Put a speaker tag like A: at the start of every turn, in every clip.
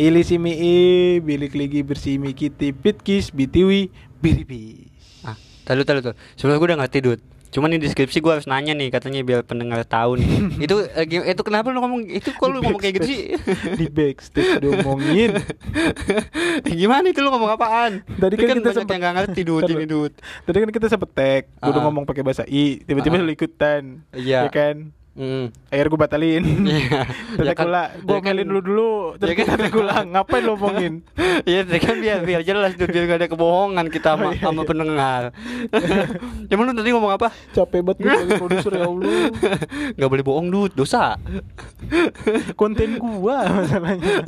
A: Hili simi i, bilik lagi bersimi kiti pitkis bitiwi biribis.
B: Ah, tahu tahu tahu. Sebenarnya gue udah ngerti dud. Cuman di deskripsi gue harus nanya nih katanya biar pendengar tahu nih. itu eh, gi- itu kenapa lu ngomong itu kok lu ngomong kayak gitu sih?
A: Di backstage diomongin.
B: Gimana itu lu ngomong apaan?
A: Tadi
B: Ini
A: kan kita
B: banyak
A: sempet-
B: yang gak ngerti dud
A: Ntar
B: ini
A: lu.
B: dud.
A: Tadi kan kita sempet tag, gue udah
B: Ah.
A: ngomong pakai bahasa i, tiba-tiba
B: Ah.
A: lu ikutan.
B: Iya.
A: Ya kan?
B: Hmm.
A: Akhirnya gue batalin.
B: Iya. Ya
A: Tetek
B: kan-
A: ulang, gue
B: ya kan-
A: omelin lu dulu, terus
B: Ya kan?
A: kita tetek ulang, ngapain lu omongin?
B: Iya, tadi kan biar biar jelas dud biar gak ada kebohongan kita
A: Oh,
B: sama,
A: iya,
B: sama
A: iya.
B: pendengar. Cuman lu tadi ngomong apa?
A: Capek banget gue sebagai produser ya Allah.
B: Gak boleh bohong dud, dosa.
A: Konten gua masalahnya.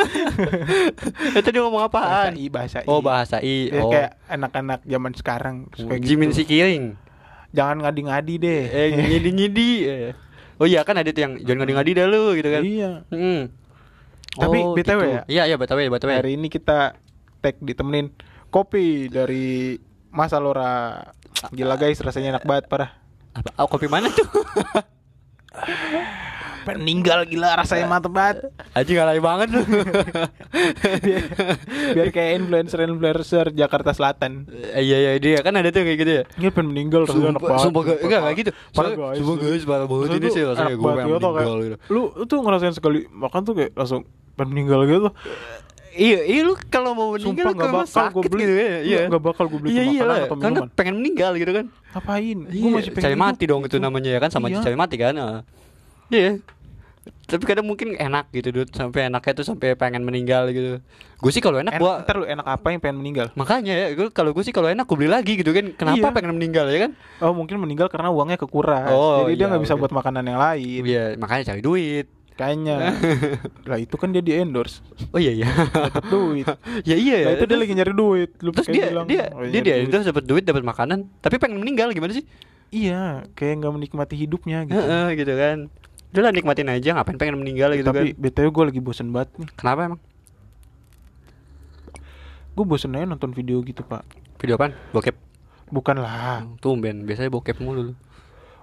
B: Eh, tadi ngomong
A: Bahasa
B: apaan?
A: i, bahasa i.
B: Oh bahasa i.
A: Ya,
B: oh.
A: kayak anak-anak zaman sekarang suka gitu.
B: Jimin si kiring.
A: Jangan ngadi-ngadi deh.
B: Eh ngidi-ngidi. eh. Oh iya kan ada tuh yang jangan ngadi-ngadi dah lu gitu kan.
A: Iya.
B: Hmm.
A: Tapi BTW ya?
B: Iya iya BTW BTW.
A: Hari ini kita tag ditemenin kopi dari Mas Alora. Gila guys, rasanya enak banget parah.
B: Apa oh, kopi mana tuh?
A: Peninggal gila rasanya mantep banget.
B: Aji ngalai banget lu.
A: biar, biar kayak influencer-influencer Jakarta Selatan.
B: Eh, Iya iya dia kan ada tuh kayak gitu ya.
A: Ini pengen meninggal rasanya enak
B: Sumpah,
A: banget.
B: sumpah, enggak, enggak gitu.
A: Parah
B: Soalnya-
A: guys.
B: sumpah, guys, parah banget
A: Rasanya
B: ini
A: tuh
B: sih, rasanya
A: enak
B: gue
A: banget,
B: pengen
A: gitu, kayak-
B: meninggal gitu.
A: Lu tuh ngerasain sekali makan tuh kayak langsung pengen meninggal gitu.
B: Iya, iya lu kalau mau
A: Sumpah
B: meninggal lu
A: nggak
B: kalau
A: bakal
B: sakit
A: gue beli.
B: gitu ya. Iya.
A: Nggak- nggak bakal gue beli
B: Iya
A: tuh
B: iya
A: makanan
B: lah.
A: atau
B: Kan
A: minuman.
B: pengen meninggal gitu kan.
A: Ngapain?
B: Iya,
A: Gua masih pengen
B: cari
A: hidup,
B: mati dong itu
A: gitu.
B: namanya ya kan sama
A: Iya.
B: cari mati kan. eh. Iya. Tapi kadang mungkin enak gitu Dut, sampai enaknya tuh sampai pengen meninggal gitu. Gue sih kalau
A: Enak,
B: enak, gua
A: ntar lu enak apa yang pengen meninggal?
B: makanya ya gue kalau gue sih kalau enak gue beli lagi gitu kan.
A: Iya.
B: Kenapa pengen meninggal ya kan?
A: Oh mungkin meninggal karena uangnya kekuras
B: Oh,
A: Jadi dia
B: iya,
A: nggak bisa
B: oke.
A: buat makanan yang lain
B: Iya, makanya cari duit.
A: Kayaknya Lah itu kan dia di endorse
B: Oh iya iya.
A: Dapat duit
B: ya iya
A: Lah
B: ya.
A: Nah, itu dia lagi nyari duit Lu
B: terus
A: pakai
B: dia
A: bilang,
B: dia
A: "Oh,
B: dia
A: nyari
B: dia
A: duit."
B: itu dapat duit dapat makanan tapi pengen meninggal gimana sih
A: Iya kayak nggak menikmati hidupnya gitu
B: Heeh, gitu kan udah lah nikmatin aja ngapain pengen meninggal gitu
A: Ya, Tapi
B: kan
A: BTW gue lagi bosen banget nih
B: kenapa emang
A: Gue bosen aja nonton video gitu pak
B: video apaan bokep
A: Bukan lah
B: tumben biasanya bokep mulu lu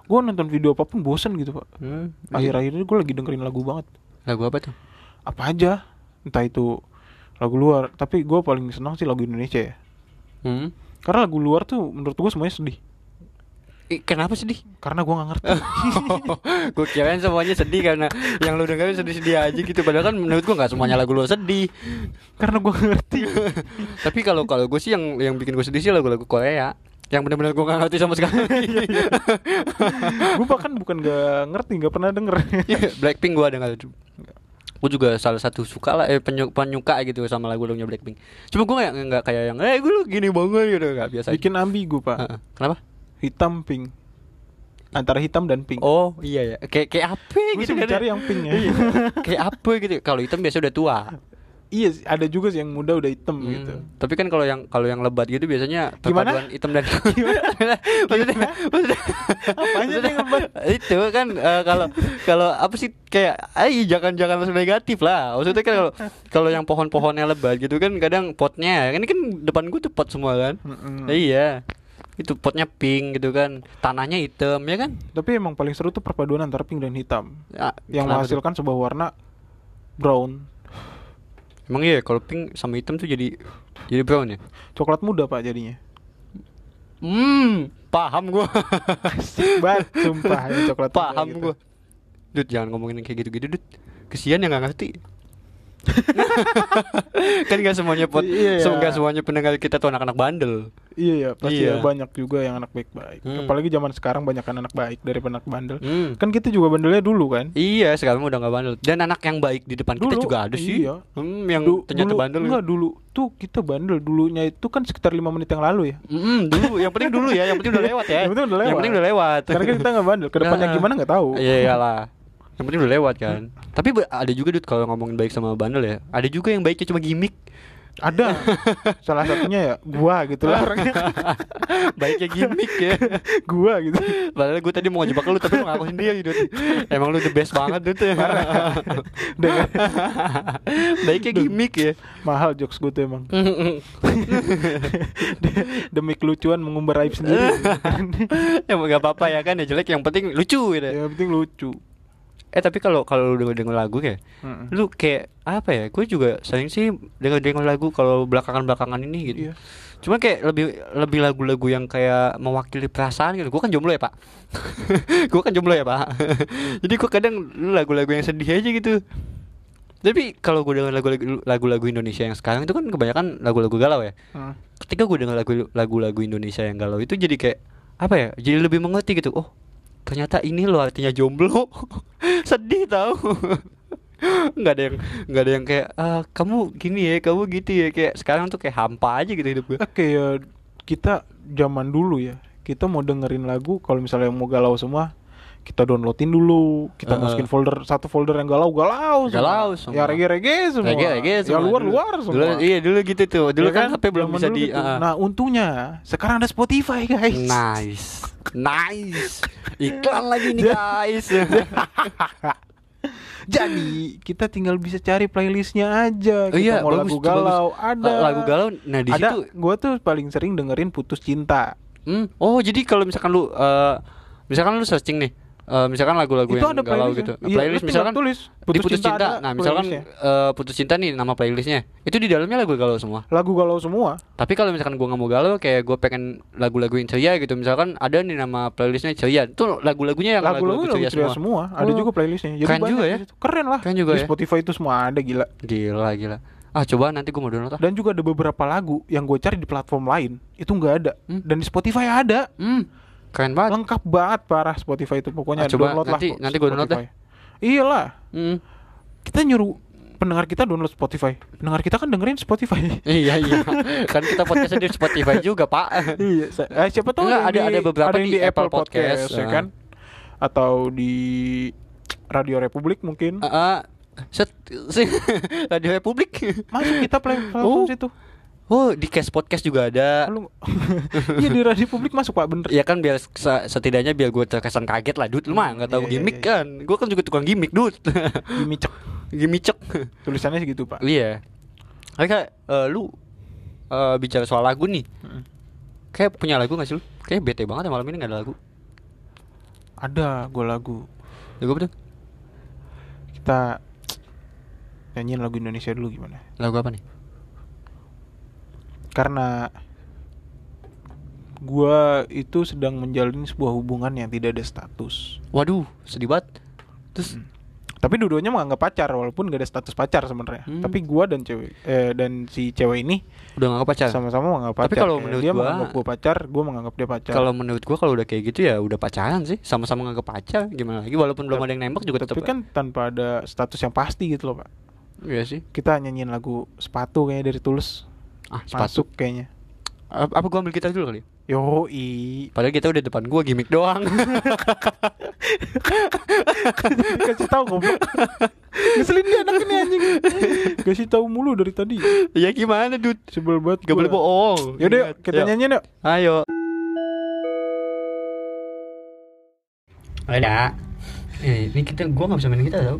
A: Gue nonton video apapun bosen gitu pak
B: hmm.
A: Akhir-akhir ini gue lagi dengerin lagu banget
B: lagu apa tuh
A: Apa aja Entah itu lagu luar Tapi gue paling senang sih lagu Indonesia ya
B: hmm.
A: Karena lagu luar tuh menurut gue semuanya sedih
B: Ih, kenapa sedih?
A: Karena gue gak ngerti
B: gue Oh, kirain semuanya sedih karena yang lu dengerin sedih-sedih aja gitu Padahal kan menurut gue gak semuanya lagu lu sedih
A: Karena gue ngerti
B: Tapi kalau kalau gue sih yang yang bikin gue sedih sih lagu-lagu Korea Yang bener-bener gue gak ngerti sama sekali
A: Gue bahkan bukan gak ngerti Gak pernah denger
B: Iya, Blackpink gua dengar Gue juga salah satu suka lah eh, penyu- penyuka gitu sama lagu-lagunya Blackpink. Cuma gue nggak nggak kayak yang eh gue lu gini banget gitu nggak biasa.
A: Bikin ambigu pak
B: Heeh. Kenapa?
A: Hitam pink Antara hitam dan pink
B: Oh iya ya kayak kayak apa
A: Gua sih
B: gitu
A: mencari yang pink ya.
B: Iya. kayak apa gitu kalau hitam biasa udah tua.
A: Iya sih, ada juga sih yang muda udah hitam
B: Hmm.
A: gitu
B: Tapi kan kalau yang kalau yang lebat gitu biasanya
A: Gimana?
B: perpaduan hitam dan maksudnya, maksudnya,
A: Apanya
B: maksudnya
A: nih ngebat?
B: itu kan eh, kalau kalau apa sih kayak eh, ay jangan jangan langsung negatif lah. Maksudnya kan kalau kalau yang pohon-pohonnya lebat gitu kan kadang potnya ini kan depan gua tuh pot semua kan.
A: Mm-mm.
B: Iya. Itu potnya pink gitu kan. Tanahnya hitam ya kan?
A: Tapi emang paling seru tuh perpaduan antara pink dan hitam
B: Ah,
A: Yang
B: kenapa tuh?
A: menghasilkan sebuah warna brown
B: Emang iya kalau pink sama hitam tuh jadi jadi brown ya?
A: Coklat muda pak jadinya
B: Hmm, paham gua.
A: Asik banget sumpah yang coklat muda
B: paham
A: gitu.
B: gua Dut jangan ngomongin kayak gitu-gitu Dut Kesian yang gak ngerti Kan gak semuanya pot
A: Iya.
B: so- nggak semuanya pendengar kita tuh anak-anak bandel
A: Iya ya pasti ya,
B: Iya.
A: banyak juga yang anak baik-baik
B: Hmm.
A: Apalagi zaman sekarang banyak anak baik daripada anak bandel
B: Hmm.
A: Kan kita juga bandelnya dulu kan
B: Iya sekarang udah gak bandel Dan anak yang baik di depan kita
A: Dulu,
B: juga ada sih
A: iya.
B: Hmm, Yang
A: Du-
B: ternyata
A: dulu,
B: bandel
A: Enggak dulu tuh kita bandel dulunya itu kan sekitar lima menit yang lalu ya.
B: Hmm, dulu yang penting dulu ya, yang penting udah lewat ya.
A: Yang penting udah lewat.
B: Yang penting udah lewat.
A: Karena kan kita nggak bandel. Kedepannya
B: Nah,
A: gimana nggak tahu.
B: Iya iyalah. Yang penting udah lewat kan. Tapi be- ada juga Dut kalau ngomongin baik sama bandel ya. Ada juga yang baiknya cuma gimmick.
A: Ada salah satunya ya gua gitu lah orangnya.
B: baiknya gimmick ya.
A: gua gitu.
B: Padahal gue tadi mau ngejebak lu tapi lu ngaku sendiri Dut. Emang lu the best banget Dut.
A: Dan
B: Baiknya gimmick ya.
A: mahal jokes gua tuh emang. De- Demi kelucuan mengumbar aib sendiri. Iya.
B: ya nggak apa-apa ya kan ya jelek yang penting lucu gitu.
A: yang penting lucu.
B: eh tapi kalau kalau lu denger denger lagu kayak
A: Mm-mm.
B: lu kayak apa ya gue juga sering sih denger denger lagu kalau belakangan belakangan ini gitu
A: Iya.
B: cuma kayak lebih lebih lagu-lagu yang kayak mewakili perasaan gitu gue kan jomblo ya pak gue kan jomblo ya pak jadi gue kadang lagu-lagu yang sedih aja gitu tapi kalau gue denger lagu-lagu lagu-lagu Indonesia yang sekarang itu kan kebanyakan lagu-lagu galau ya
A: Mm.
B: ketika gue dengar lagu lagu-lagu Indonesia yang galau itu jadi kayak apa ya jadi lebih mengerti gitu oh ternyata ini loh artinya jomblo sedih tau nggak ada yang nggak ada yang kayak ah, kamu gini ya kamu gitu ya kayak sekarang tuh kayak hampa aja gitu hidup gue
A: Nah, kayak kita zaman dulu ya kita mau dengerin lagu kalau misalnya mau galau semua kita downloadin dulu kita
B: Heeh.
A: masukin folder satu folder yang galau galau semua.
B: Galau semua.
A: ya reggae reggae semua
B: Reggae, reggae
A: ya
B: semua.
A: luar
B: Dulu-
A: luar
B: dulu,
A: semua
B: iya dulu gitu tuh dulu
A: Ya
B: kan, HP belum
A: Zaman
B: bisa
A: dulu
B: di
A: gitu.
B: ah, ah.
A: nah untungnya sekarang ada Spotify guys
B: Nah. nice nice iklan lagi nih guys
A: jadi kita tinggal bisa cari playlistnya aja kita
B: Oh iya,
A: mau lagu
B: bagus tuh,
A: galau
B: bagus.
A: ada
B: Lagu galau, nah di
A: ada
B: situ-
A: gua tuh paling sering dengerin putus cinta
B: Hmm. Oh, jadi kalau misalkan lu eh misalkan lu searching nih eh misalkan lagu-lagu
A: Itu
B: yang
A: ada
B: galau
A: playlistnya.
B: gitu. Nah,
A: Iya, lu
B: playlist
A: tinggal
B: misalkan
A: tulis,
B: di
A: Putus
B: putus
A: Cinta
B: cinta.
A: ada
B: Nah, misalkan eh, putus cinta nih nama playlistnya. Itu di dalamnya lagu galau semua.
A: lagu galau semua
B: Tapi kalau misalkan gua nggak mau galau kayak gua pengen lagu-lagu yang ceria gitu. Misalkan ada nih nama playlistnya ceria. Itu lagu-lagunya yang
A: lagu-lagu lagu ceria semua. ada
B: Oh.
A: juga playlistnya jadi
B: Keren
A: banyak
B: juga
A: di
B: ya.
A: situ. keren lah
B: Keren juga
A: di
B: ya.
A: Spotify itu semua ada gila
B: Gila, gila. Ah, coba nanti gua mau download ah.
A: dan juga ada beberapa lagu yang gue cari di platform lain itu nggak ada
B: Hmm.
A: dan di Spotify ada
B: Hmm. Keren banget.
A: lengkap banget parah Spotify itu pokoknya
B: Ah, coba
A: download
B: nanti-
A: lah
B: nanti gua download ya.
A: Spotify. iyalah
B: Hmm.
A: kita nyuruh pendengar kita download Spotify pendengar kita kan dengerin Spotify
B: iya, iya. kan kita podcastnya di Spotify juga, Pak.
A: iya sa- eh, siapa tahu
B: Enggak,
A: yang
B: ada- ada beberapa
A: yang
B: di Apple Podcast,
A: ya
B: ah.
A: kan atau di Radio Republik mungkin
B: Heeh. set set radio Republik.
A: masuk kita play platform
B: Oh.
A: situ
B: Oh, di Cash Podcast juga ada.
A: Lu- iya di radio publik masuk pak bener
B: Ya kan biar se- setidaknya biar gue terkesan kaget lah, Dut. Lu mah nggak tahu
A: Iya, iya,
B: gimmick
A: iya.
B: kan. Gue kan juga tukang gimmick, Dut.
A: Dimicek
B: Gimicek.
A: tulisannya segitu pak
B: iya. Oke, lu eh, bicara soal lagu nih.
A: Mm.
B: Kayak punya lagu gak sih lu? Kayak bete banget ya malam ini gak ada lagu.
A: ada gue lagu
B: Lagu apa tuh?
A: kita nyanyiin lagu Indonesia dulu gimana
B: Lagu apa nih?
A: karena gua itu sedang menjalin sebuah hubungan yang tidak ada status
B: Waduh, sedih banget. Terus
A: Hmm. tapi dua-duanya menganggap pacar walaupun gak ada status pacar sebenarnya
B: Hmm.
A: tapi gua dan cewek eh, dan si cewek ini
B: udah gak pacar.
A: sama-sama menganggap pacar
B: Tapi kalau
A: Kayak
B: menurut
A: dia
B: gua-
A: menganggap gua pacar gua menganggap dia pacar
B: Kalau menurut gua kalau udah kayak gitu ya udah pacaran sih, sama-sama nggak pacar gimana lagi walaupun belum
A: Tapi-
B: ada yang nembak juga tetap
A: tapi kan tanpa ada status yang pasti gitu loh pak
B: Iya sih.
A: kita nyanyiin lagu sepatu kayaknya dari Tulus
B: Ah, sepatu.
A: masuk kayaknya
B: Apa apa gua ambil gitar dulu kali? ya?
A: yoi
B: Padahal kita udah depan gua gimmick doang.
A: kasih tahu goblok ngeselin dia anak ini anjing kasih tahu mulu dari tadi
B: ya gimana, Dut?
A: sebel banget
B: Gak
A: gua.
B: boleh bohong. Ya.
A: yaudah yuk, kita nyanyiin yuk
B: Ayo. Ada. Eh, ini kita gua nggak bisa main gitar tau.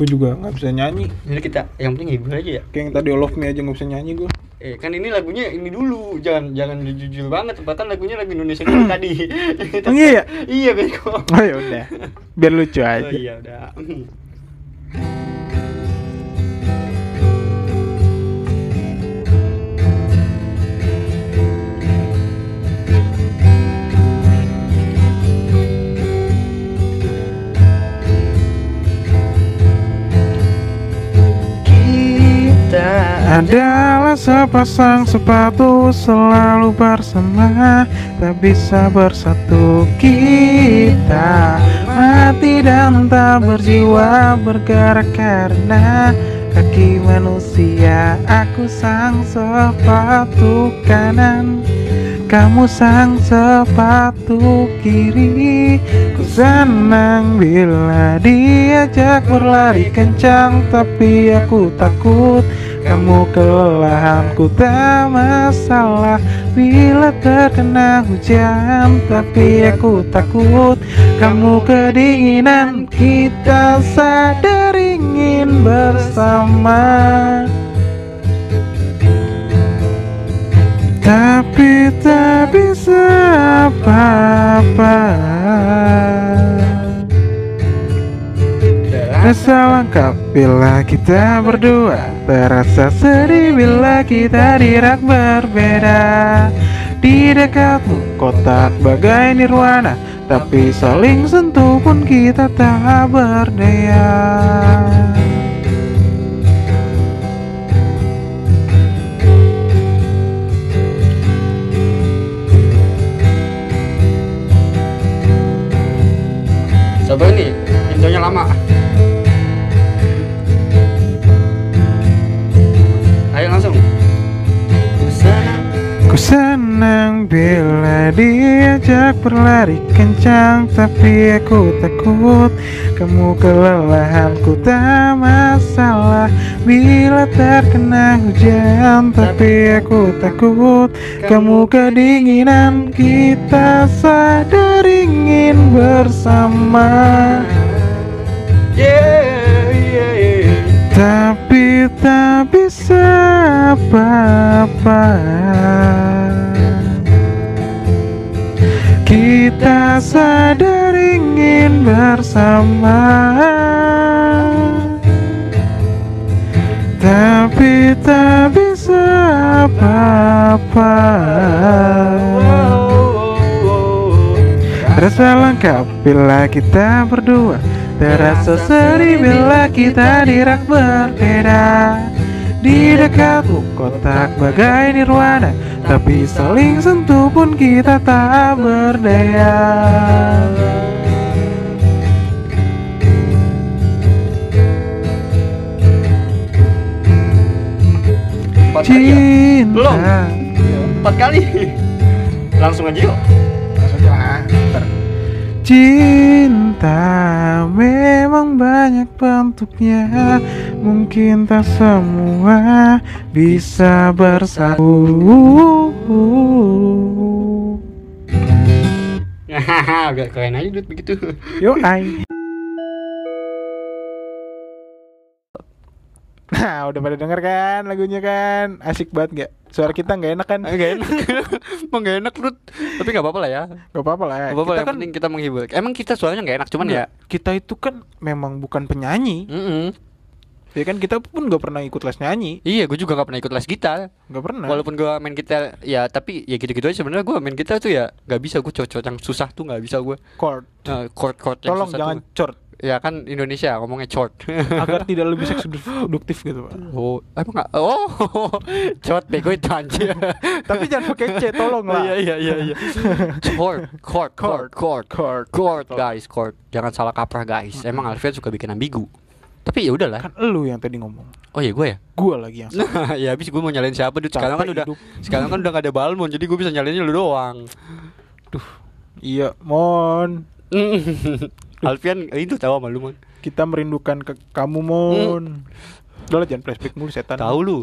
A: gue juga nggak bisa nyanyi
B: Ini kita yang penting hibur aja ya.
A: kayak yang tadi all of me aja nggak bisa nyanyi gue
B: Eh, kan ini lagunya ini dulu. Jangan jangan jujur banget, tempatan lagunya lagu Indonesia dulu tadi.
A: iya ya
B: iya, beko.
A: oh ya udah biar lucu aja
B: Oh iya udah. Kita
A: Adalah sepasang sepatu selalu bersama Tak bisa bersatu kita Mati dan tak berjiwa bergerak karena Kaki manusia Aku sang sepatu kanan Kamu sang sepatu kiri Ku senang bila diajak berlari kencang Tapi aku takut kamu kelelahan Ku tak masalah bila terkena hujan Tapi aku takut kamu kedinginan Kita sadar ingin bersama tapi tak bisa apa-apa Terasa lengkap bila kita berdua Terasa sedih bila kita di rak berbeda Di dekatmu kotak bagai nirwana Tapi saling sentuh pun kita tak berdaya
B: Sabar nih, intronya lama. Ayo langsung.
A: Ku senang bila diajak berlari kencang Tapi aku takut kamu kelelahan Ku tak masalah bila terkena hujan Tapi aku takut kamu kedinginan Kita sadar ingin bersama
B: Yeah, yeah, yeah.
A: tapi tak bisa apa-apa Kita sadar ingin bersama Tapi tak bisa apa-apa Rasa lengkap bila kita berdua Terasa sedih bila kita di rak berbeda Di dekatmu kontak bagai nirwana Tapi saling sentuh pun kita tak berdaya
B: Empat kali ya? Belum.
A: Cinta
B: Empat kali. Langsung aja yuk.
C: Langsung
A: Iya,
C: aja lah. Ntar.
A: Cinta memang banyak bentuknya Mungkin tak semua bisa bersatu
B: Hahaha, agak keren aja duit begitu.
A: Yo ay Nah udah pada denger kan lagunya kan Asik banget gak? Suara kita gak enak kan?
B: Enggak enak. Emang gak enak Rut. Tapi enggak apa-apa lah ya.
A: Gak apa-apa lah
B: Gak apa-apa,
A: Kita
B: yang
A: kan
B: penting kita menghibur. Emang kita suaranya gak enak, cuman ya.
A: Kita itu kan memang bukan penyanyi
B: Mm-mm.
A: Ya kan kita pun gak pernah ikut les nyanyi
B: Iya, gue juga gak pernah ikut les gitar.
A: Gak pernah
B: Walaupun gue main gitar, ya tapi ya gitu-gitu aja sebenarnya gue main gitar tuh ya gak bisa gue cocok yang susah tuh gak bisa gue.
A: Chord
B: Nah, chord-chord yang
A: Tolong
B: susah
A: jangan
B: tuh.
A: chord
B: Ya kan Indonesia ngomongnya chord.
A: agar tidak lebih seks produktif gitu pak
B: Oh, emang nggak? Oh, chord bego itu anjir.
A: tapi jangan pakai c tolong lah
B: Iya iya iya iya. Chord, chord, chord, chord,
A: Chord.
B: chord, guys, chord. Jangan salah kaprah guys. Emang Alfian suka bikin ambigu. Tapi ya
A: kan
B: udahlah.
A: elu yang tadi ngomong
B: Oh ya gue ya.
A: gua lagi yang salah.
B: Nah, ya habis gue mau nyalain siapa dude sekarang kan
A: Capek
B: udah
A: hidup.
B: sekarang kan udah gak ada balmon jadi gue bisa nyalainnya lu doang.
A: iya mon
B: Alfian eh, itu tahu sama lu mon.
A: kita merindukan ke kamu mon udah lah jangan flashback mulu setan
B: Hmm. Tahu lu.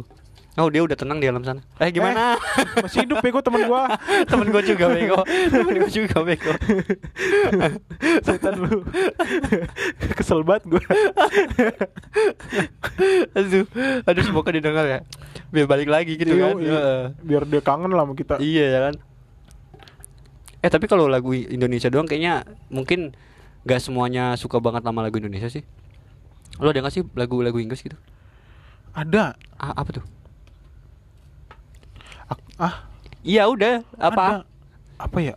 B: Oh dia udah tenang di dalam sana. Eh gimana?
A: masih hidup bego teman gua
B: temen gue juga bego temen gue juga bego
A: setan lu kesel banget gua
B: aduh aduh semoga didengar ya biar balik lagi gitu
A: Iya,
B: kan
A: iya.
B: Heeh.
A: biar dia kangen lah sama kita
B: iya ya kan eh tapi kalau lagu Indonesia doang kayaknya mungkin nggak semuanya suka banget sama lagu Indonesia sih lo ada nggak sih lagu-lagu Inggris gitu
A: ada
B: ah, apa tuh
A: Ak- ah
B: iya udah
A: ada.
B: apa
A: apa ya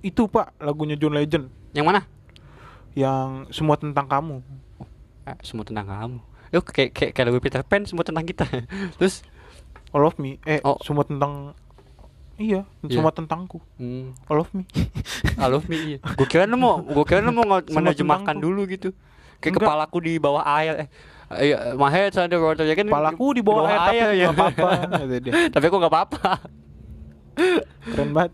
A: itu pak lagunya John Legend
B: yang mana
A: yang semua tentang kamu
B: Ah, semua tentang kamu Yo, kayak kayak kayak lagu Peter Pan semua tentang kita terus
A: All of me Eh
B: Oh.
A: semua tentang Iya
B: Iya.
A: Semua tentangku
B: hmm,
A: All of me
B: I Ah, love me. Gue kira lu mau, gue kira lu mau nge-
A: Semua
B: menerjemahkan
A: tentangku.
B: dulu gitu. Kayak
A: Enggak.
B: kepalaku di bawah air. Eh, iya, my head under water ya kan.
A: Palaku di bawah air Tapi
B: ya.
A: nggak apa-apa Kata dia.
B: tapi aku gak apa-apa.
A: Keren banget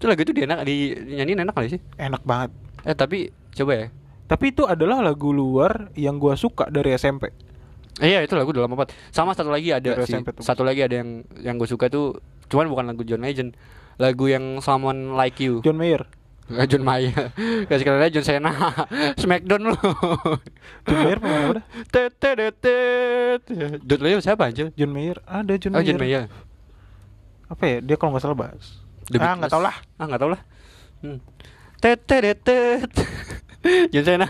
B: Itu lagu itu dia enak di nyanyiin enak kali sih.
A: Enak banget
B: Eh tapi coba ya.
A: Tapi itu adalah lagu luar Yang gua suka dari SMP
B: Eh, iya itu lagu udah lama banget. Sama satu lagi ada
A: Dari
B: sih.
A: SMP tuh.
B: Satu lagi ada yang yang gue suka tuh cuman bukan lagu John Legend. Lagu yang Someone Like You.
A: John Mayer
B: Eh, John Mayer. Kasih kira John Cena. Smackdown lu.
A: John Mayer pemain apa dah?
B: Tetetetet. John Mayer siapa anjir?
A: John Mayer Ada John
B: Oh
A: Mayer
B: John Mayer.
A: Apa ya Dia kalau nggak salah bahas
B: The
A: Ah
B: Beatles.
A: nggak tau lah
B: Ah nggak tau lah. Hmm. Tetetetet. John Cena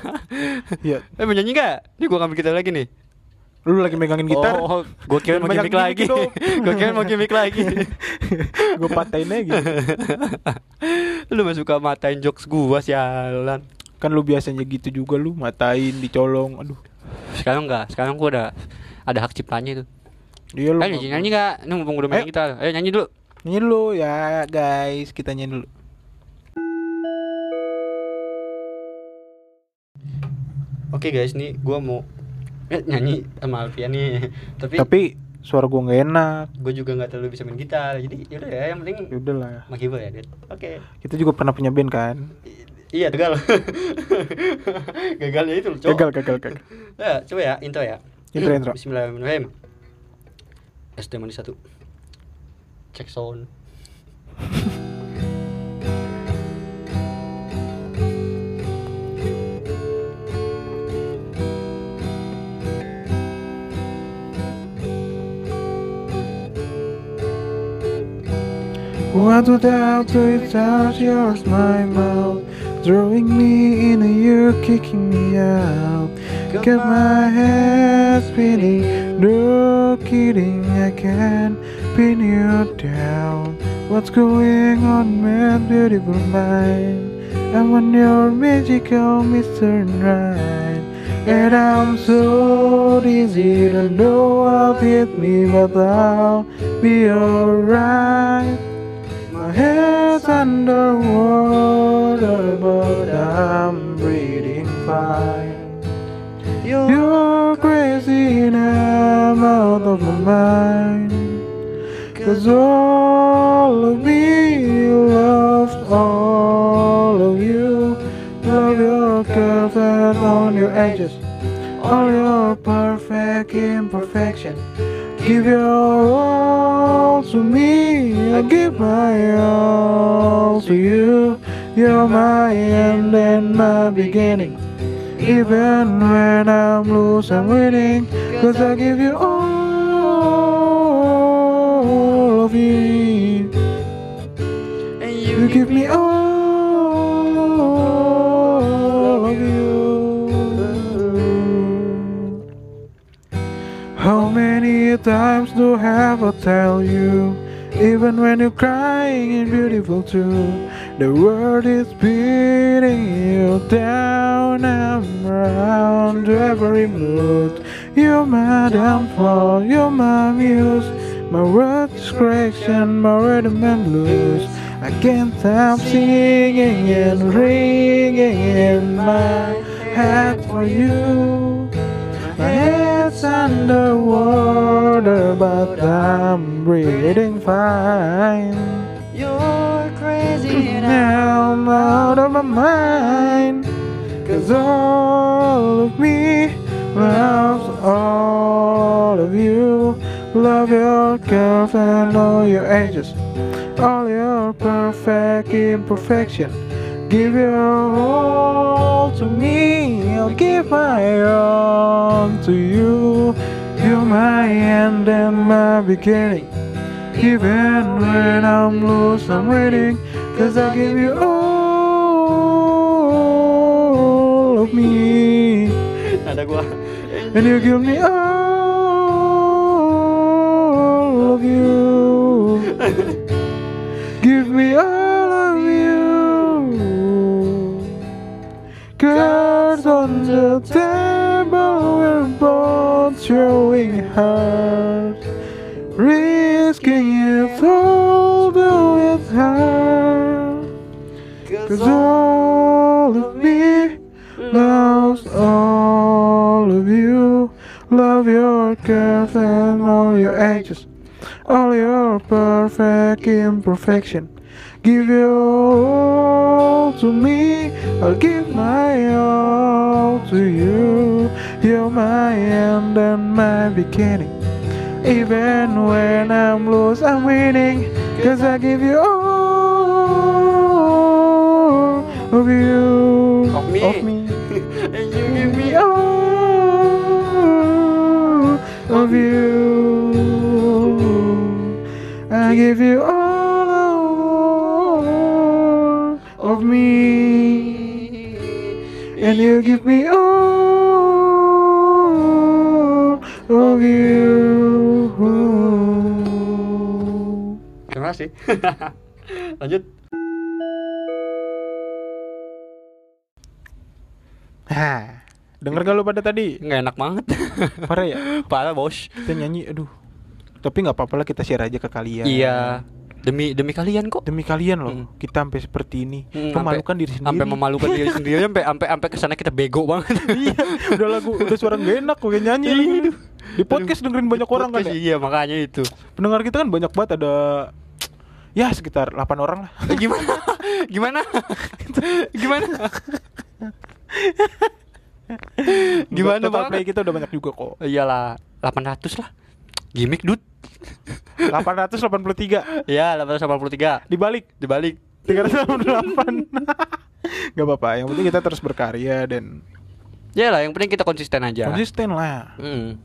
A: Iya.
B: Eh mau nyanyi gak? Ini gue ngambil gitar lagi nih
A: Lu lagi megangin gitar.
B: Oh, gue kira
A: Jangan
B: mau
A: banyak
B: gimmick lagi
A: gimmick dong.
B: Gue kira mau gimmick lagi
A: gue patahin aja gitu.
B: Lu masuk suka matain jokes gue sialan
A: Kan lu biasanya gitu juga lu matain dicolong. Aduh.
B: Sekarang enggak, sekarang gue udah ada hak ciptanya itu
A: Dia Iya, lu.
B: Ayo Eh, nyanyi, nyanyi gak? Ini mumpung udah
A: Ayo.
B: main gitar Ayo nyanyi dulu
A: Nyanyi dulu ya guys, kita nyanyi dulu.
B: Oke guys, nih gue mau eh, nyanyi sama Alfian nih Tapi,
A: Tapi suara gua nggak enak.
B: gue juga gak terlalu bisa main gitar Jadi yaudah ya, yang penting
A: Ya udahlah.
B: sama keyboard ya Dit. Oke
A: Kita juga pernah punya band kan?
B: I- Iya gagal Gagalnya itu loh cowok
A: Gagal, gagal, gagal.
B: Ya, coba ya, intro ya
A: Intro, intro.
B: Bismillahirrahmanirrahim SD manis satu Cek sound
A: What would I do without your smile, mouth? Drawing me in and you're kicking me out. Got my head spinning, no kidding, I can pin you down. What's going on, man, beautiful mind? I'm on your magical Mr. Right. And I'm so dizzy, don't know what hit me, but I'll be alright. My head's underwater, but I'm breathing fine. You're crazy and I'm out of my mind. Cause all of me loved all of you. Love your curves and on your edges. All your perfect imperfection. Give your all to me, I give my all to you. You're my end and my beginning. Even when I'm loose, I'm winning. Cause I give you all of me.
B: And
A: You give me all of you. How many times do I have I tell you? Even when you're crying and beautiful too, the world is beating you down. I'm around every mood. You're my downfall, you're my muse, my words correction, my rhythm and blues. I can't stop singing and ringing in my head for you. My head's underwater, but I'm breathing fine. Mm-hmm.
B: You're crazy
A: Now I'm out of my mind. Cause all of me loves all of you. Love your curves and all your edges. All your perfect imperfection. Give your all to me. I'll give my all to you. You're my end and my beginning. Even when I'm lost, I'm waiting. Cause I give you all of me.
B: Ada gua
A: And you give me all of you. Give me all of you. Cards on the table, we're both showing heart. Risking it all, though it's hard. Cause all of me loves all of you. Love your curves and all your edges, all your perfect imperfection. Give your all to me, I'll give my all to you. You're my end and my beginning. Even when I'm lost, I'm winning. Cause I give you all of you.
B: Of me.
A: Of me.
B: And you
A: Give me all of you. I give you all of me. And and you give me all of you.
B: Terima kasih. Lanjut.
A: Hah, denger gak lu pada tadi?
B: Nggak enak banget.
A: Parah ya?
B: Parah bos.
A: Kita nyanyi, aduh. Tapi nggak apa-apa lah kita share aja ke kalian.
B: Iya. Demi demi kalian kok.
A: Demi kalian loh,
B: Mm.
A: kita sampai seperti ini.
B: Hmm,
A: memalukan
B: sampai-
A: diri sendiri.
B: Sampai memalukan diri sendiri, sampai sampai sampai kesana kita bego banget.
A: iya, udah lagu, udah suara gak enak gue nyanyi lagi.
B: Iya.
A: Di podcast dengerin banyak orang kan
B: Podcast,
A: ya?
B: Iya makanya itu.
A: Pendengar kita kan banyak banget ada ya sekitar 8 orang lah.
B: Eh, Gimana? Gimana? Gimana? Gimana
A: Total play
B: banget?
A: kita udah banyak juga kok.
B: Iyalah, 800 lah. Gimik, Dut.
A: 883
B: Ya, 883
A: dibalik
B: dibalik.
A: 368. Gak apa-apa, yang penting kita terus berkarya dan
B: Ya lah, yang penting kita konsisten aja.
A: konsisten lah.
B: Mm.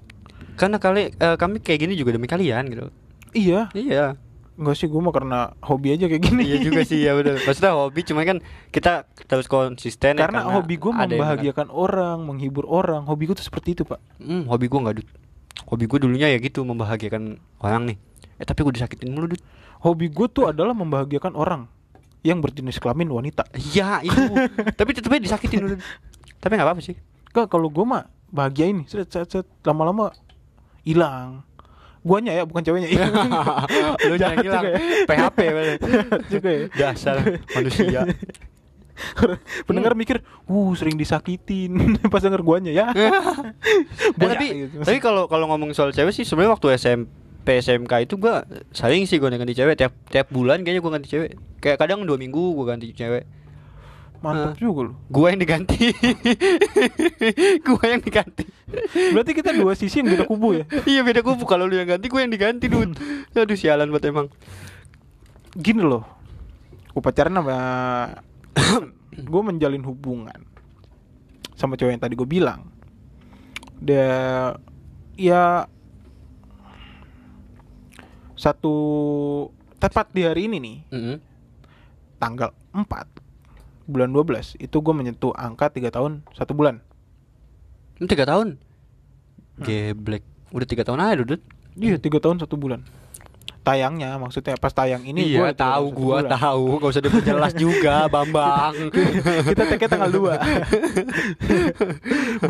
B: Karena kali eh, kami kayak gini juga demi kalian gitu.
A: Iya,
B: Iya.
A: enggak sih gue mau karena hobi aja kayak gini.
B: iya juga sih ya udah. Maksudnya hobi cuma kan kita terus konsisten ya,
A: Karena, hobi gue
B: ada yang-
A: membahagiakan orang, menghibur orang. Hobi gue tuh seperti itu, Pak.
B: Hmm, hobi gue nggak dut. Hobi gue dulunya ya gitu membahagiakan orang nih. Eh tapi gue disakitin mulu dut.
A: Hobi gue tuh adalah membahagiakan orang yang berjenis kelamin wanita.
B: Iya itu. tapi tetepnya disakitin dulu. Tapi nggak apa-apa sih.
A: Kak, kalau gue mah bahagia ini, set set set lama-lama hilang. Guanya ya, bukan ceweknya.
B: Lu jangan
A: Jahat
B: bilang
A: juga ya.
B: PHP bener.
A: Jahat juga ya.
B: Dasar manusia. Hmm.
A: Pendengar mikir, "Uh, sering disakitin." Pas denger guanya ya. gitu.
B: Eh, tapi tapi kalau kalau ngomong soal cewek sih sebenarnya waktu SMP SMK itu gua sering sih gua ganti cewek tiap tiap bulan kayaknya gua ganti cewek. Kayak kadang dua minggu gua ganti cewek.
A: mantap
B: eh.
A: juga lu.
B: Gua yang diganti. gua yang diganti.
A: Berarti kita dua sisi yang beda kubu ya.
B: iya beda kubu kalau lu yang ganti gue yang diganti dude aduh sialan buat emang
A: Gini loh. Gue pacaran sama gue menjalin hubungan sama cewek yang tadi gue bilang. Dia ya satu tepat di hari ini nih tanggal 4 bulan 12 itu gue menyentuh angka 3 tahun satu bulan
B: Lu tiga tahun geblek udah tiga tahun aja dude
A: Hmm. iya tiga tahun satu bulan tayangnya maksudnya pas tayang ini
B: iya
A: gua tiga tahun
B: tahu
A: satu
B: gua
A: bulan. Iya,
B: tahu gak usah diperjelas juga bambang
A: kita tag tanggal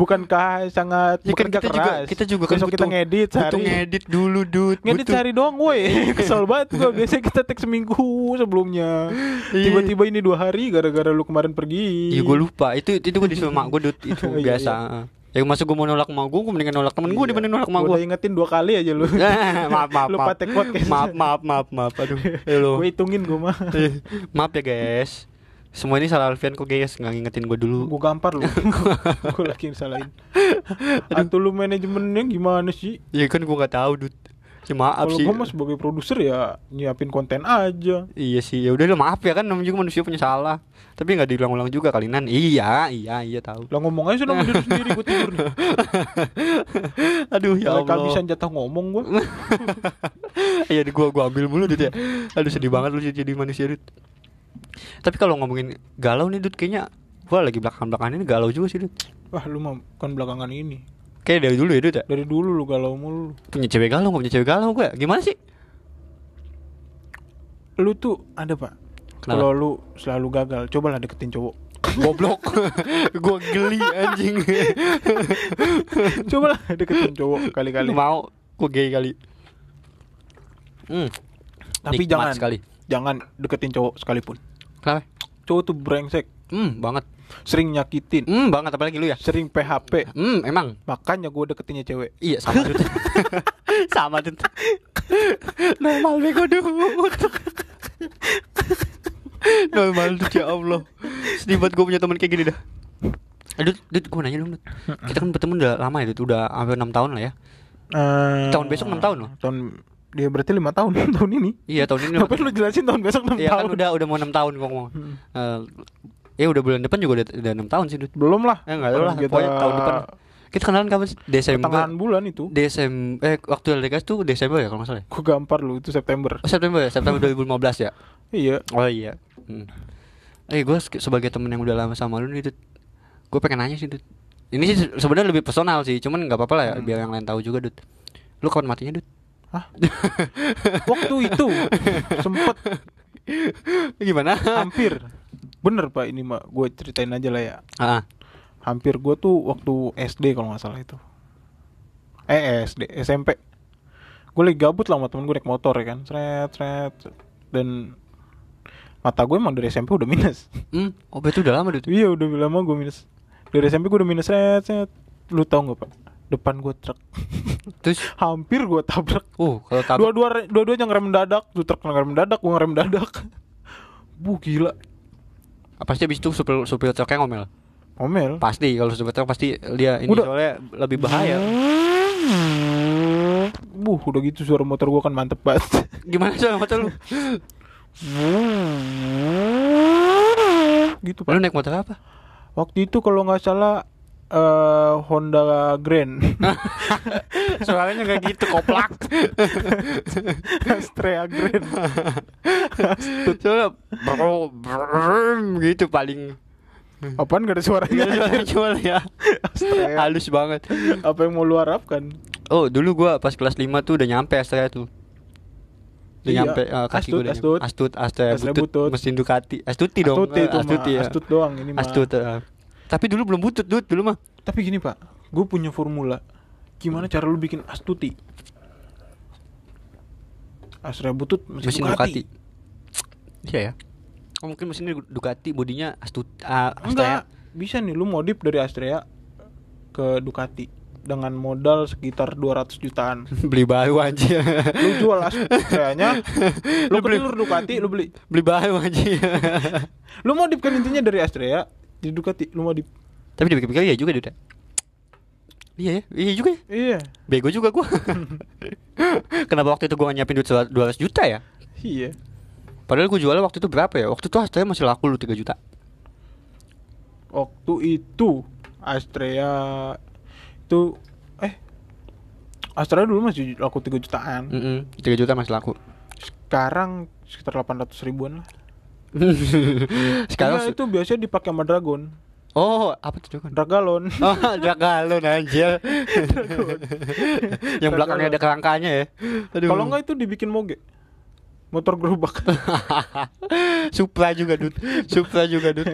A: 2 bukankah sangat
B: Ya kan
A: bekerja
B: kita juga-
A: keras
B: kita juga kan
A: besok kita
B: butuh-
A: ngedit
B: Butuh
A: sehari
B: ngedit dulu dude
A: ngedit
B: Butuh-
A: sehari doang woi kesel banget gua biasanya kita tag seminggu sebelumnya
B: Iya.
A: tiba-tiba ini dua hari gara-gara lu kemarin pergi
B: iya gue lupa itu itu gue disuruh mak gue dude itu
A: Iya,
B: biasa ya masuk gue mau nolak mak gue gue mendingan nolak temen gue
A: Iya.
B: dibanding nolak mak
A: Gua
B: gue
A: udah ingetin dua kali aja lu
B: maaf maaf
A: Lupa
B: maaf
A: take podcast.
B: maaf maaf maaf maaf aduh Eh, lu.
A: gue hitungin gue mah
B: Eh, Maaf ya guys Semua ini salah Alfian kok guys Nggak ngingetin gue dulu
A: gue gampar lu gue lagi yang salahin atau lu manajemennya gimana sih
B: Ya kan gue nggak tahu dud Ya maaf
A: kalau
B: sih
A: gue mah sebagai produser ya nyiapin konten aja
B: Iya sih ya udah lah maaf ya kan Namanya juga manusia punya salah Tapi nggak diulang-ulang juga kali Nan Iya iya iya tahu
A: lah ngomong aja sama diri sendiri gue tidur nih
B: Aduh
A: Iya,
B: ya
A: kalau
B: Allah
A: kehabisan jatah ngomong gue
B: Iya gue gua ambil mulu dud ya Aduh sedih banget lu jadi manusia dud Tapi kalau ngomongin galau nih dud Kayaknya Wah lagi belakang-belakangan ini galau juga sih dud
A: wah lu mah bukan belakangan ini
B: Kayak dari dulu ya dud ya
A: dari dulu lu galau mulu
B: Punya cewek galau nggak punya cewek galau gue Gimana sih
A: lu tuh ada pak
B: Kenapa?
A: kalau lu selalu gagal cobalah deketin cowok
B: Goblok Gue geli anjing
A: cobalah deketin cowok
B: Lu
A: kali-kali
B: mau Gue gay kali hmm.
A: tapi
B: nikmat
A: jangan
B: sekali.
A: jangan deketin cowok sekalipun
B: Kenapa?
A: cowok tuh brengsek
B: Hmm banget
A: sering nyakitin
B: Hmm banget apalagi lu ya
A: sering PHP
B: Hmm emang
A: makanya gue deketinnya cewek
B: Iya sama tuh Sama tuh Normal bego dulu Normal tuh ya Allah Sedih banget gue punya temen kayak gini dah Aduh, Eh, Dut, gue nanya dong Dut. Kita kan berteman udah lama ya Dut, udah hampir 6 tahun lah ya
A: Eh,
B: Tahun besok enam tahun loh.
A: Tahun dia berarti lima tahun tahun ini.
B: Iya tahun ini
A: Tapi lu jelasin tahun besok enam
B: Iya kan
A: tahun.
B: udah udah mau 6 tahun gua ngomong.
A: Hmm.
B: Eh, ya udah bulan depan juga udah, udah 6 tahun sih Dut.
A: Belum lah.
B: Eh enggak tahu lah
A: Kita-
B: pokoknya tahun depan. Kita kenalan kapan sih? Desember.
A: Pertengahan bulan itu.
B: Desember eh waktu LDKS tuh Desember ya kalau enggak salah. ya?
A: Gue gampar lu itu September.
B: Oh, September ya, September 2015 ya.
A: Hmm. Iya.
B: Oh iya. Hmm. Eh gua se- sebagai temen yang udah lama sama lu nih Dut. gue pengen nanya sih Dut ini sih se- sebenarnya lebih personal sih cuman nggak apa-apa lah
A: Hmm.
B: ya biar yang lain tahu juga Dut lu kapan matinya Dut
A: Hah? Waktu itu sempet
B: gimana
A: hampir bener pak ini mak gue ceritain aja lah ya
B: ah
A: hampir gue tuh waktu SD kalau nggak salah itu eh SD SMP gue lagi gabut lah sama temen gue naik motor ya kan seret seret dan mata gue emang dari SMP udah minus
B: hmm obat itu udah lama Dut
A: iya udah lama gue minus dari SMP gue udah minus seret seret lu tau nggak pak depan gue truk
B: terus
A: hampir gue tabrak
B: uh kalau tahu
A: dua-dua dua-duanya ngerem mendadak tuh truk ngerem mendadak gue ngerem mendadak bu gila
B: pasti abis itu supir supir truknya ngomel
A: omel
B: pasti kalau supir truk pasti dia ini
A: Udah.
B: soalnya lebih bahaya
A: Buh, udah gitu suara motor gua kan mantep banget.
B: gimana soal motor lu
A: gitu
B: lu
A: pak.
B: naik motor apa
A: Waktu itu kalau nggak salah eh Honda Grand,
B: Soalnya nggak gitu koplak.
A: Astrea Grand.
B: Soalnya bro, brum, gitu paling
A: Apaan gak ada suaranya?
B: cuma ya
A: Astrea.
B: halus banget.
A: Apa yang mau lu harapkan?
B: Oh dulu gua pas kelas 5 tuh udah nyampe Astrea tuh. Udah
A: Iya,
B: nyampe eh,
A: Astut,
B: kaki gua udah nyampe.
A: Astut.
B: Astut, Astrea
A: Astrea
B: butut,
A: butut.
B: mesin Ducati. Astuti dong.
A: Astuti
B: eh,
A: itu mah,
B: Astuti ya.
A: Astut doang ini mah.
B: Astut. eh. Tapi dulu belum butut dulu dulu mah.
A: Tapi gini pak, gue punya formula.
B: Hmm.
A: Gimana cara lu bikin astuti? Astrea butut mesin,
B: Mesin Ducati. Iya ya. Oh, mungkin mesinnya Ducati bodinya Astut ah, Astrea.
A: Enggak, bisa nih lu modif dari Astrea ke Ducati dengan modal sekitar 200 jutaan.
B: Beli baru anjir.
A: Lu jual Astreanya, lu
B: Lu beli-
A: kelilur Ducati, lu beli.
B: Beli baru anjir.
A: Lu modif kan intinya dari Astrea jadi Ducati, lu modif.
B: Tapi dipikir-pikir iya juga Duda Iya ya, iya juga ya
A: Iya.
B: Bego juga gua Kenapa waktu itu gua nggak nyiapin duit sel- 200 juta ya
A: Iya.
B: Padahal gua jualnya waktu itu berapa ya Waktu itu Astrea masih laku lu 3 juta
A: Waktu itu Astrea itu eh Astrea dulu masih laku 3 jutaan.
B: Mm-mm, 3 juta masih laku
A: Sekarang sekitar 800 ribuan lah.
B: Sekarang
A: Iya,
B: su-
A: itu biasanya dipakai sama Dragon,
B: Oh apa tuh Dragon
A: Dragalon.
B: Oh Dragalon anjir Yang belakangnya ada kerangkanya ya Aduh.
A: Kalau enggak itu dibikin moge. Motor gerobak.
B: Supra juga Dut Supra juga Dut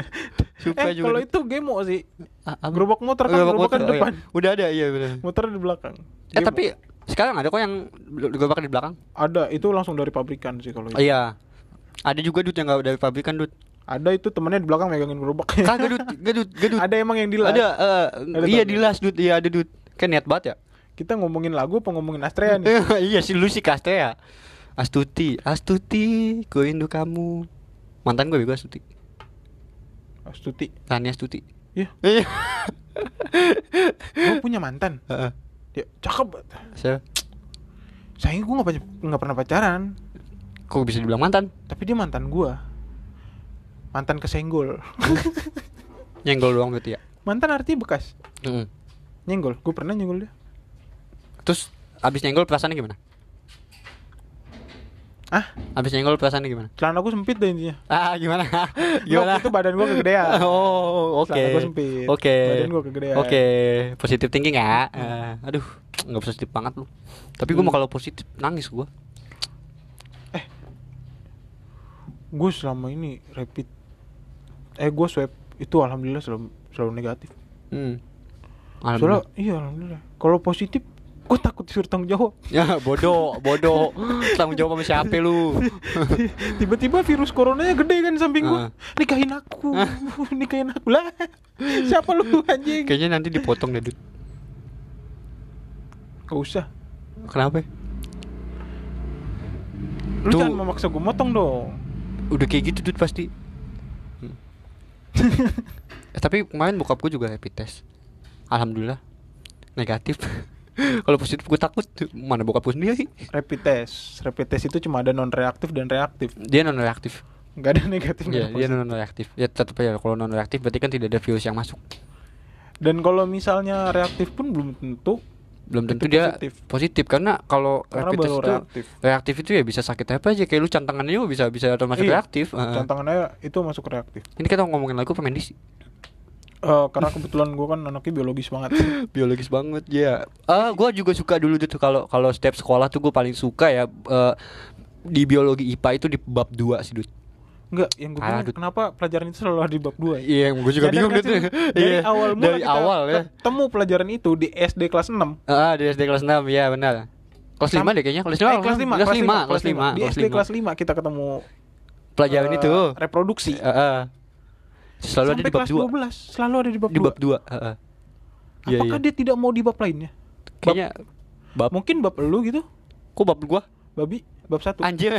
A: eh,
B: Supra juga
A: kalau
B: Dut.
A: itu gemo sih.
B: Ah, apa?
A: gerobak motor kan, gerobak kan
B: motor, oh iya.
A: depan. Iya,
B: Udah ada iya benar.
A: Motor di belakang.
B: Eh
A: Gemo.
B: tapi sekarang ada kok yang gerobak di belakang.
A: ada itu langsung dari pabrikan sih kalau itu.
B: iya. Ada juga dut yang gak dari pabrikan dut.
A: Ada itu temennya di belakang megangin gerobak.
B: Kagak dut, gak dut, gak dut.
A: ada emang yang dilas.
B: Ada, eh,
A: Ada
B: iya
A: tau.
B: dilas dut, iya ada dut. Kan niat banget ya.
A: Kita ngomongin lagu apa ngomongin Astrea nih?
B: iya si Lucy Castrea. Astuti, Astuti, gue rindu kamu. Mantan gue bego Astuti.
A: Astuti.
B: Rani Astuti.
A: Iya.
B: Iya. Eh.
A: Gue punya mantan.
B: Heeh.
A: Ya, cakep. banget.
B: Saya
A: Sayang gue nggak pac- nggak pernah pacaran,
B: kok bisa dibilang mantan?
A: tapi dia mantan gua. Mantan kesenggol.
B: Nyenggol doang berarti ya.
A: mantan arti bekas.
B: Mm-mm.
A: Nyenggol. Gue pernah nyenggol dia.
B: Terus abis nyenggol perasaannya gimana?
A: Ah,
B: Abis nyenggol perasaannya gimana?
A: celana gue sempit deh intinya.
B: Ah gimana?
A: Gimana?
B: gimana?
A: Waktu itu badan gue kegedean.
B: Oh, oke.
A: Celana gua sempit,
B: Oke.
A: badan gua kegedean.
B: Oke, positif thinking ya. Eh, aduh, nggak positif banget lu. Tapi gua mau
A: Hmm.
B: kalau positif nangis gua.
A: gue selama ini rapid eh gue swab itu alhamdulillah selalu selalu negatif
B: Hmm.
A: soalnya
B: Alhamdulillah.
A: iya alhamdulillah kalau positif gue takut disuruh tanggung jawab
B: Ya bodoh, bodoh. Tanggung jawab sama siapa lu?
A: tiba-tiba virus coronanya gede kan samping gue
B: Ah.
A: nikahin aku nikahin aku lah siapa lu anjing
B: Kayaknya nanti dipotong deh, Dut.
A: gak usah
B: Kenapa?
A: lu
B: Tuh.
A: jangan memaksa gue motong dong
B: Udah kayak gitu, Dut pasti. Hmm. Eh, tapi kemarin bokap gua juga rapid test. Alhamdulillah negatif. kalau positif gua takut mana bokap gua sendiri.
A: rapid test rapid test itu cuma ada non reaktif dan reaktif
B: Dia non reaktif.
A: nggak ada negatif nggak
B: Iya,
A: ada
B: dia
A: positif.
B: non reaktif. Ya tetap ya kalau non reaktif berarti kan tidak ada virus yang masuk.
A: dan kalau misalnya reaktif pun belum tentu
B: Belum tentu
A: Itu
B: dia
A: positif.
B: positif, karena kalau
A: Karena
B: rapid test
A: baru
B: itu
A: reaktif.
B: reaktif. itu ya bisa sakit apa aja kayak lu cantangannya juga bisa bisa otomatis
A: Iya,
B: reaktif. Heeh.
A: tantangannya itu masuk reaktif
B: Ini kita ngomongin lagu pemain disi.
A: eh, karena kebetulan gue kan anaknya biologis banget
B: biologis banget ya ah gua juga suka dulu tuh kalau kalau setiap sekolah tuh gue paling suka ya eh, di biologi IPA itu di bab 2 sih Dut.
A: Enggak, yang gue
B: Parah,
A: bingung
B: Dut.
A: kenapa pelajaran itu selalu ada di bab ya? 2
B: iya gue juga bingung Dut.
A: kan Dari
B: Iya,
A: awal mula
B: dari
A: kita
B: awal ya
A: ketemu pelajaran itu di SD kelas 6
B: ah di SD kelas 6 ya benar kelas 5 deh kayaknya kelas 5
A: Eh, kelas 5
B: kelas 5 kelas 5
A: Di SD kelas 5 kita ketemu
B: pelajaran
A: eh,
B: itu
A: reproduksi
B: Eh, eh. selalu ada
A: Sampai
B: di bab
A: kelas
B: 2
A: 12 Selalu ada di bab
B: di
A: 2
B: bab 2 heeh. Iya,
A: Apakah
B: iya.
A: dia tidak mau di bab lainnya?
B: kayaknya bab
A: Mungkin bab lu gitu
B: kok bab gua
A: Babi Bab 1
B: anjir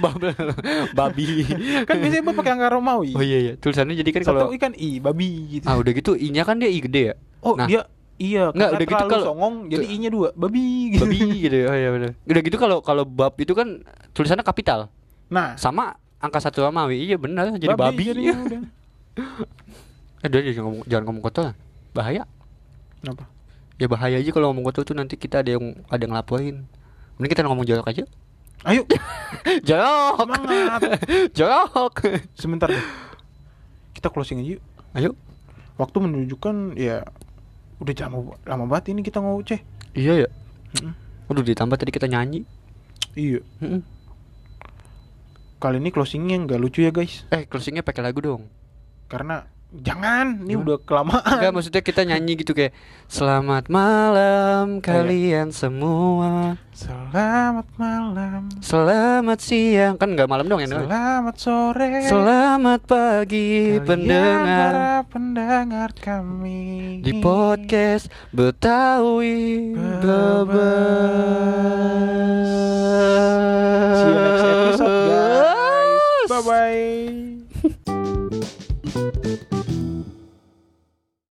B: bab babi
A: Kan biasanya bab pakai angka Romawi
B: oh iya iya tulisannya jadi kan kalau
A: Satu ikan I Babi gitu
B: ah udah gitu i-nya kan dia i gede ya
A: Oh
B: Nah,
A: dia Iya karena
B: Enggak, udah gitu
A: terlalu
B: kalau-
A: songong Jadi I nya 2 Babi gitu
B: babi gitu ya. oh iya benar udah gitu kalau kalau bab itu kan tulisannya kapital
A: Nah
B: sama angka satu sama wi iya benar jadi babi, ya.
A: jadinya udah.
B: eh udah, jangan ngomong jangan ngomong kotor lah. bahaya
A: Kenapa?
B: ya bahaya aja kalau ngomong kotor tuh nanti kita ada yang ada yang ngelaporin mending kita ngomong jorok aja
A: Ayo
B: jorok
A: Semangat
B: jorok
A: Sebentar deh Kita closing aja yuk
B: ayo
A: Waktu menunjukkan ya Udah jam lama banget ini kita ngoceh
B: iya ya
A: Mm-mm.
B: Aduh ditambah tadi kita nyanyi Hmm.
A: Iya
B: Mm-mm.
A: Kali ini closingnya nggak lucu ya guys
B: Eh closingnya pakai lagu dong
A: Karena Jangan Ini
B: Gimana?
A: udah kelamaan
B: Enggak maksudnya kita nyanyi gitu kayak Selamat malam
A: Iya.
B: kalian semua
D: Selamat malam
B: Selamat siang Kan nggak malam dong ya Noel?
D: Selamat sore
B: Selamat
D: Kalian
B: pagi pendengar
D: para pendengar kami
B: Di podcast Betawi
D: Bebas.
B: Bebas
A: See you next episode,